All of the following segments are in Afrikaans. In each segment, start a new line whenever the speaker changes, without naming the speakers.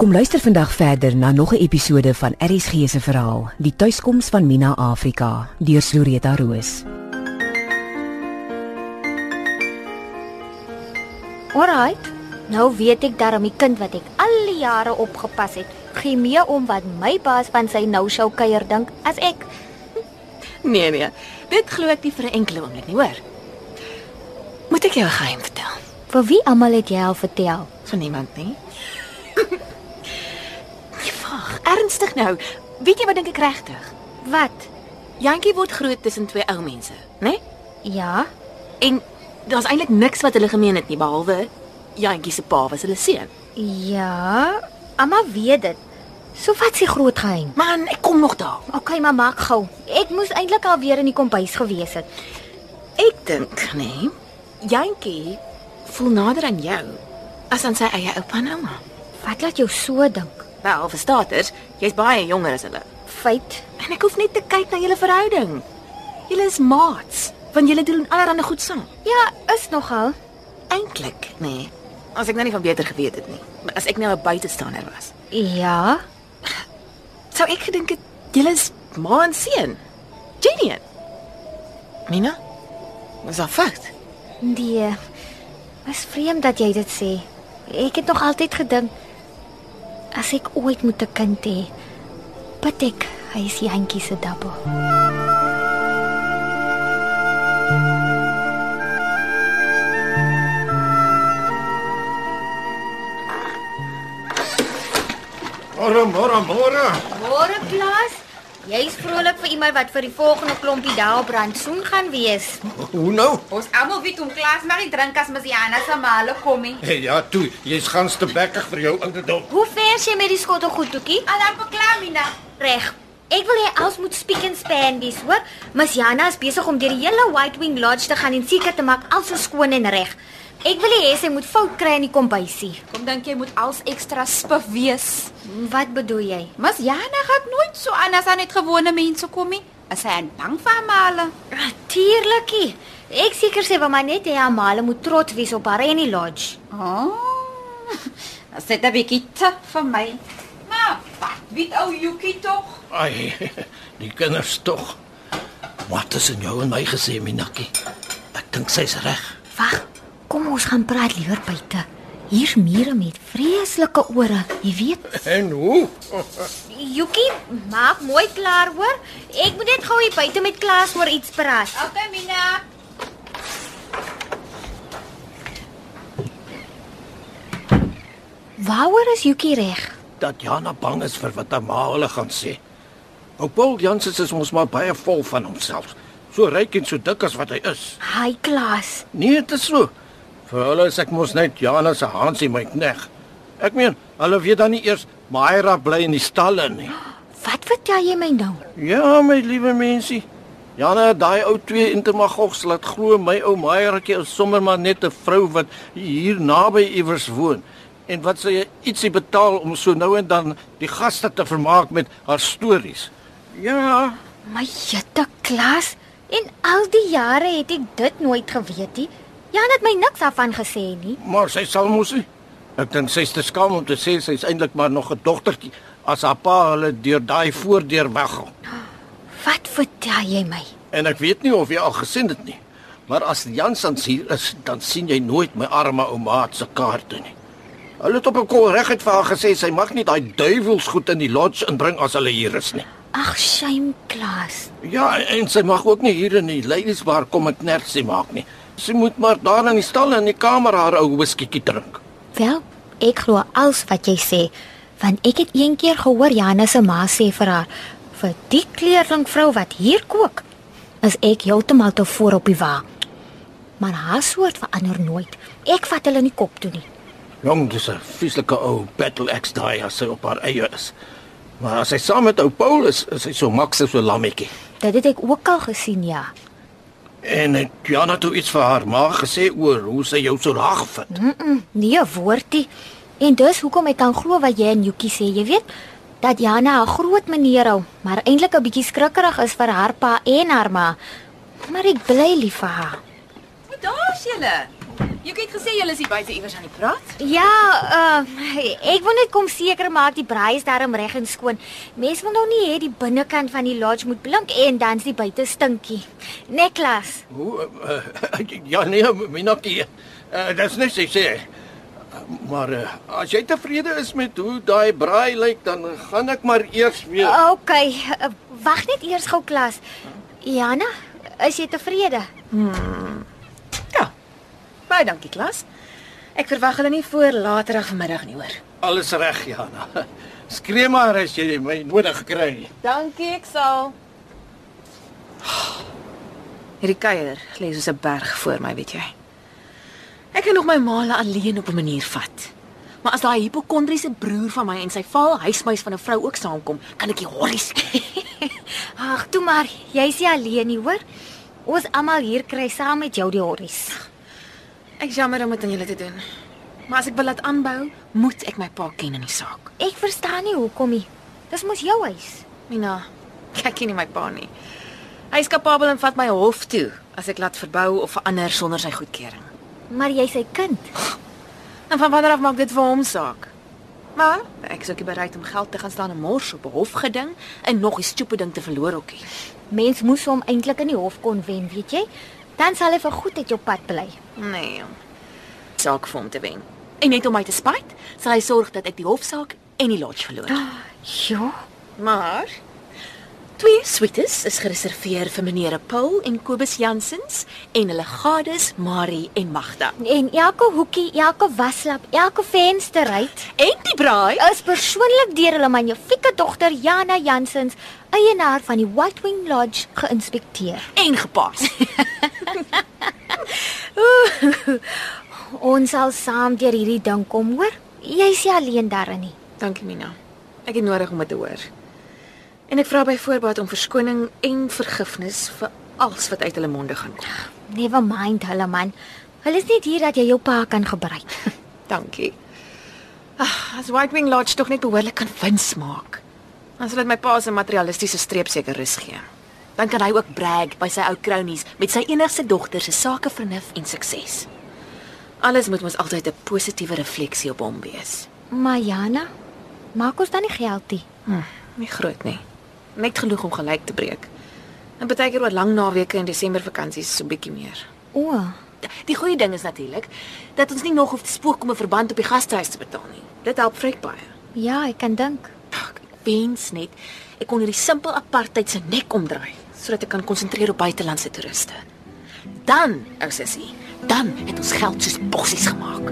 Kom luister vandag verder na nog 'n episode van RSG se verhaal, Die tuiskoms van Mina Afrika, deur Soreta Roos.
Alraight. Nou weet ek daarom die kind wat ek al die jare opgepas het, gee meer om wat my baas van sy nou sou kuier dink as ek.
Nee nee, dit glo ek nie vir 'n enkele oomblik nie, hoor. Moet ek jou 'n geheim vertel?
Vir wie almal het jy al vertel?
Van niemand nie. nee, wag, ernstig nou. Weet jy wat dink ek regtig?
Wat?
Jantjie word groot tussen twee ou mense, né? Nee?
Ja,
En daar's eintlik niks wat hulle gemeen het nie behalwe Jantjie se pa was hulle seun.
ja. Almal weet dit. So wat se groot geheim?
Man, ek kom nog daar.
OK, maar maak gou. Ek moes eintlik al weer in die kombuis gewees het.
Ek dink, nee. Jantjie voel nader aan jou as aan sy eie oupa en ouma.
Wat laat jou so dink?
Wel, verstaaters, jy's baie jonger as hulle.
Feit.
En ek hoef net te kyk na julle verhouding. Julle is maats, want julle doen allerlei goed saam.
Ja, is nogal.
Eintlik, nê. Nee. As ek nou nie van beter geweet het nie, maar as ek nou 'n buitestander was,
Ja.
sou ek gedink het julle is ma en seun. Genian. Mina? Was daar fout?
Nee. Is vreemd dat jy dit sê. Ek het nog altyd gedink as ek ooit moet 'n kind hê, bid ek hy is Jantjie se dappel.
Môre, môre, môre.
Môre klas, jy's vrolik vir iemand wat vir die volgende klompie dae brandsoen gaan wees.
Hoe nou?
Ons almal weet om klas maar nie drink as Masiana se male kom nie.
Hey, ja, toe, jy's gans te bekkig vir jou ouderdom.
Hoe ver is jy met die skotte goed toekie?
Alarm beklaar Mina.
Reg. Ek wil hê als moet speak and span wees, hoor? Miss Jana is besig om deur die hele White Wing Lodge te gaan en seker te maak alles is skoon en reg. Ek wil nie hê sy moet fout kry in die kombuisie.
Kom dink jy moet als ekstra spif wees.
Wat bedoel jy?
Masiana gaan nooit so anders aan net gewone mense kom nie. As hy aan bang vir haar male.
Natuurlikie. Ek seker sy wou maar net hê Amale moet trots wees op haar en die lodge.
Oh. As dit 'n bietjie te vir my. Maar wat weet ou Yuki tog?
Ai, die kinders tog. Wat is in jou en my gesê, Minakkie? Ek dink sy's reg.
Wag, kom ons gaan praat liewer buite. Hier mure met vreeslike ore, jy weet.
En hoe?
Yuki, maak mooi klaar hoor. Ek moet net gou hier buite met Klaas oor iets praat.
Okay Mina.
Waaroor is Yuki reg?
Dat Jana bang is vir wat haar ma hulle gaan sê. Ou Paul Jansen is ons maar baie vol van homself. So ryk en so dik as wat hy is.
Hi Klaas.
Nee, dit is so. Vir hulle is ek mos net Jana se Hansie my knegg. Ek meen, hulle weet dan nie eers Myra bly in die stalle nie.
Wat vertel jy my nou?
Ja, my liewe mensie. Janne, daai ou twee intermagogs laat glo my ou maaiertjie is sommer maar net 'n vrou wat hier naby iewers woon en wat sy ietsie betaal om so nou en dan die gaste te vermaak met haar stories. Ja,
My jette Klaas, en al die jare het ek dit nooit geweet nie. Jan het my niks daarvan gesê nie.
maar sy sal mos nie. Ek dink sy's te skaam om te sê sy's eintlik maar nog 'n dogtertjie as haar pa hulle deur daai voordeur weggaan.
Wat vertel jy my?
En ek weet nie of jy al gesien dit nie. Maar as Jansans hier is, dan sien jy nooit my arme ouma se kaarte nie. Hulle het op 'n kol reguit vir haar gesê sy mag nie daai duiwels goed in die lodge inbring as hulle hier is nie.
Ag, shame Klaas.
Ja, en sy mag ook nie hier in die ladies bar kom en knertsie maak nie. Sy moet maar daar in die stal in die kamer haar ou whiskietjie drink.
Wel, ek glo alles wat jy sê, want ek het een keer gehoor Janne se ma sê vir haar, vir die kleerling vrou wat hier kook, is ek heeltemal te voor op die wa. Maar haar soort verander nooit. Ek vat hulle nie kop toe nie.
Jong, dis 'n vieslike ou battle axe daai as sy op haar eie is. Maar as sy saam met ou Paul is, is sy so maks so lammetjie.
Dit het ek ook al gesien, ja.
En het Jana toe iets vir haar ma gesê oor hoe sy jou so raag vind? Hm?
Nee, woordie. En dis hoekom ek kan glo wat jy en Joekie sê, jy weet, dat Jana 'n groot meneer hou, maar eintlik 'n bietjie skrikkerig is vir haar pa en haar ma. Maar ek bly lief vir haar.
Daar's julle.
Jy het gesê julle is hier buite iewers aan die praat?
Ja, ehm ek wil net kom seker maak die braai is darm reg en skoon. Mense wil nou nie hê die binnekant van die lodge moet blink en dan's die buite stinkie. Nee, Neklas.
Hoe uh, uh, ja nee, Minakie. Uh, Dit's net sy sê. Uh, Maar uh, as jy tevrede is met hoe daai braai lyk, dan gaan ek maar eers weer.
OK, eh, wag net eers gou klas. Jana, is jy tevrede?
Ja. Baie dankie, klas. Ek verwag hulle nie voor laterig vanmiddag nie hoor.
Alles reg, Jana. Skree maar as jy my nodig kry.
Dankie, ek sal. Hierdie kuier lê soos 'n berg voor my, weet jy. Ek kan nog my maale alleen op 'n manier vat. Maar as daai hipokondriese broer van my en sy vaal huismuis van 'n vrou ook saamkom, kan ek die horries.
Ag, toe maar, jy's nie alleen nie, hoor? Ons almal hier kry saam met jou die horries.
ek jammer om dit aan julle te doen. Maar as ek wil laat aanbou, moet ek my pa ken in die saak.
Ek verstaan nie hoekom nie. Dis mos jou huis.
Mina, kyk hier nie my pa nie. Hy is kapabel en vat my hof toe as ek laat verbou of verander sonder sy goedkeuring.
Maar jy's sy kind.
En van wanneer af maak dit vir hom saak? Maar ek is ook nie bereid om geld te gaan staan en mors op 'n hofgeding en nog 'n stupid ding te verloor ookie.
Mens moes hom eintlik in die hof kon wen, weet jy? Dan sal hy vir goed uit jou pad bly.
Nee. jong. Saak vir hom te wen. En net om my te spyt, sal hy sorg dat ek die hofsaak en die lodge verloor.
Ja.
Maar twee suites is gereserveer vir meneer Paul en Kobus Jansens en hulle gades Marie en Magda.
En elke hoekie, elke waslap, elke vensterruit
En die braai
is persoonlik deur hulle magnifieke dogter Jana Jansens, eienaar van die White Wing Lodge, geïnspekteer.
en gepaas.
Ons sal saam deur hierdie ding kom, hoor? Jy's nie alleen daarin nie.
Dankie Mina. Ek het nodig om dit te hoor. En ek vra by voorbaat om verskoning en vergifnis vir alles wat uit hulle monde gaan kom.
Never mind hulle man. Hulle is net hier dat jy jou pa kan gebruik.
Dankie. Ag, as White Wing Lodge tog net behoorlik kan wins maak. Dan sal dit my pa se materialistiese streep seker rus gee. Dan kan hy ook brag by sy ou kronies met sy enigste dogter se sakevernuf en sukses. Alles moet mos altyd 'n positiewe refleksie op hom wees.
maar Jana, maak ons dan nie geld nie.
Hm, nie groot nie. Net genoeg om gelyk te breek. En baie keer oor lang naweke en Desember vakansies so bietjie meer.
O,
Die goeie ding is natuurlik dat ons nie nog hoef te spook om 'n verband op die gastehuis te betaal nie. Dit help vrek baie.
ja, ek kan dink.
Ag, Ek wens net ek kon hierdie simpel apartheid se nek omdraai sodat ek kan konsentreer op buitelandse toeriste. Dan, ou sussie, dan het ons geld soos bossies gemaak.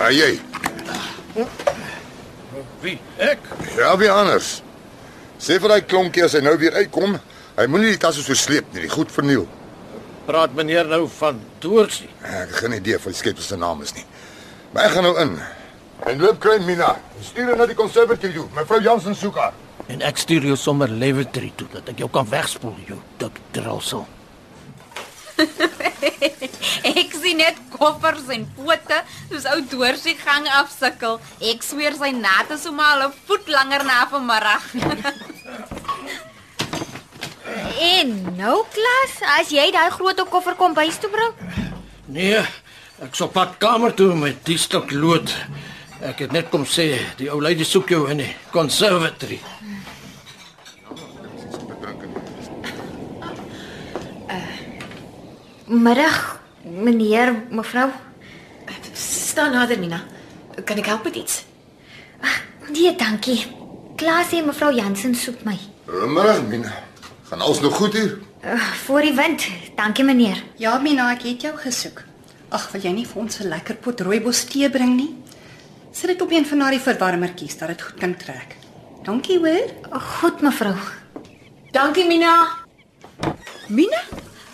Ah, jy.
Wie? Ek.
Ja, wie anders? Sê vir daai klonkie as hy nou weer uitkom, hy moenie die tasse so sleep nie, die goed verniel.
Praat meneer nou van Doorsie.
Ek het geen idee of hy skep se naam is nie. Maar ek gaan nou in. En loop klein Mina, stuur haar na die konservatorie toe. Mevrou Jansen soek haar.
En ek stuur jou sommer Lewetry toe dat ek jou kan wegspoel, jou dik drulsel.
Ek sien net koffers en pote soos ou dorsie gang afsukkel. Ek sweer sy nat is om al 'n voet langer na vanmiddag.
En nou klas, as jy daai groot koffer kom bys toe bring,
Nee, ek sop pad kamer toe met die stuk lood. Ek het net kom sê die ou lady soek jou in die conservatory.
middag, meneer, mevrou.
Staan nader, Mina. Kan ek help met iets?
Nee, dankie. Klaas en mevrou Jansen soek my.
Goeiemôre Mina. Gaan alles nog goed hier?
Uh, voor die wind. Dankie meneer.
Ja, Mina, ek het jou gesoek. Ag, wil jy nie vir ons 'n lekker pot rooibos tee bring nie? Sit dit op een van daardie verwarmertjies dat dit goed kan trek. Dankie hoor.
Uh, Goed mevrou.
Dankie, Mina.
Mina,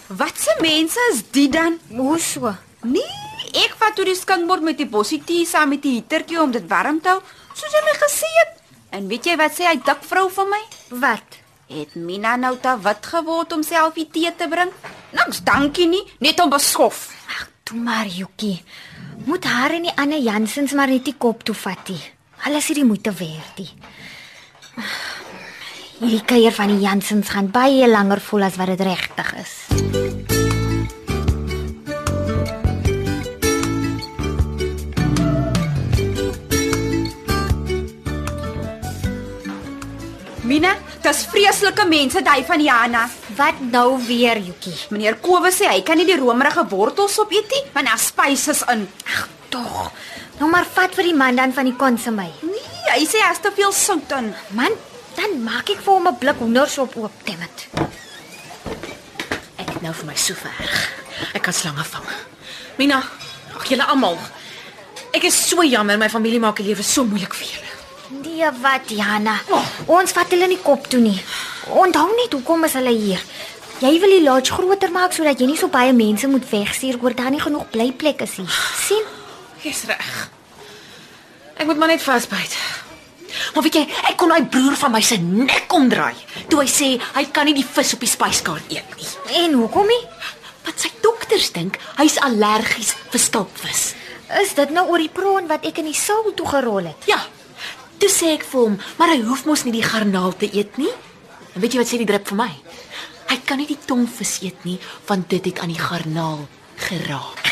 wat se mense is dit dan?
Hoe so?
Nee, ek vat toe die skinkbord met die bossie tee saam met die hietertjie om dit warm te hou, soos hy my gesê het. En weet jy wat sê hy dik vrou van my?
Wat?
Het Mina nou ta wit geword om self die tee te bring? Niks dankie nie, net om beskof.
Ag, toe maar Yuki. Moet haar en die ander Jansens maar net die kop toe vat nie. Alles hierdie moeite werd nie. Hierdie kuier van die Jansens gaan baie langer voel as wat dit regtig is.
Mina, dis vreeslike mense daai van Jana.
Wat nou weer, Joekie?
Meneer Kowe sê hy kan nie die romerige wortels opeet nie, want daar spyse is in.
Ag, tog. Nou maar vat vir die man dan van die konsumei.
Nee, hy sê daar's te veel sout in.
Man, dan maak ek vir hom 'n blik hoendersop oop, Temmet.
Ek het nou vir my so verg. Ek kan slange vang. Mina, ag julle almal. Ek is so jammer my familie maak die lewe so moeilik vir julle.
Nee, wat Jana? Ons vat hulle nie kop toe nie. Onthou net hoekom is hulle hier? Jy wil die lodge groter maak sodat jy nie so baie mense moet wegstuur oor daar nie genoeg blyplek is nie. sien?
Jy's reg. Ek moet maar net vasbyt. Maar weet jy, ek kon daai broer van my se nek omdraai toe hy sê hy kan nie die vis op die spyskaart eet nie.
En hoekom nie?
Wat sy dokters dink, hy's allergies vir skulpvis.
Is dit nou oor die proon wat ek in die saal toe gerol het?
Ja. Toe sê ek vir hom, maar hy hoef mos nie die garnaal te eet nie. En weet jy wat sê die drup vir my? Hy kan nie die tongvis eet nie, want dit het aan die garnaal geraak.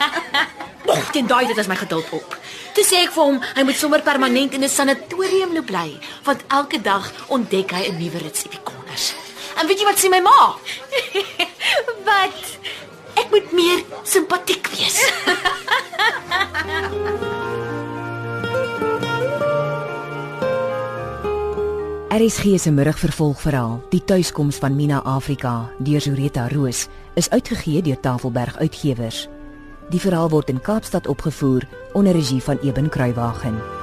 Och, teen daai dit is my geduld op. Toe sê ek vir hom, hy moet sommer permanent in 'n sanatorium loop bly, want elke dag ontdek hy 'n nuwe rits epikonders. En weet jy wat sê my ma?
Wat?
Ek moet meer simpatiek wees.
RSG se middagvervolgverhaal, Die tuiskoms van Mina Afrika, deur Zureta Roos, is uitgegee deur Tafelberg Uitgewers. Die verhaal word in Kaapstad opgevoer onder regie van Eben Kruiwagen.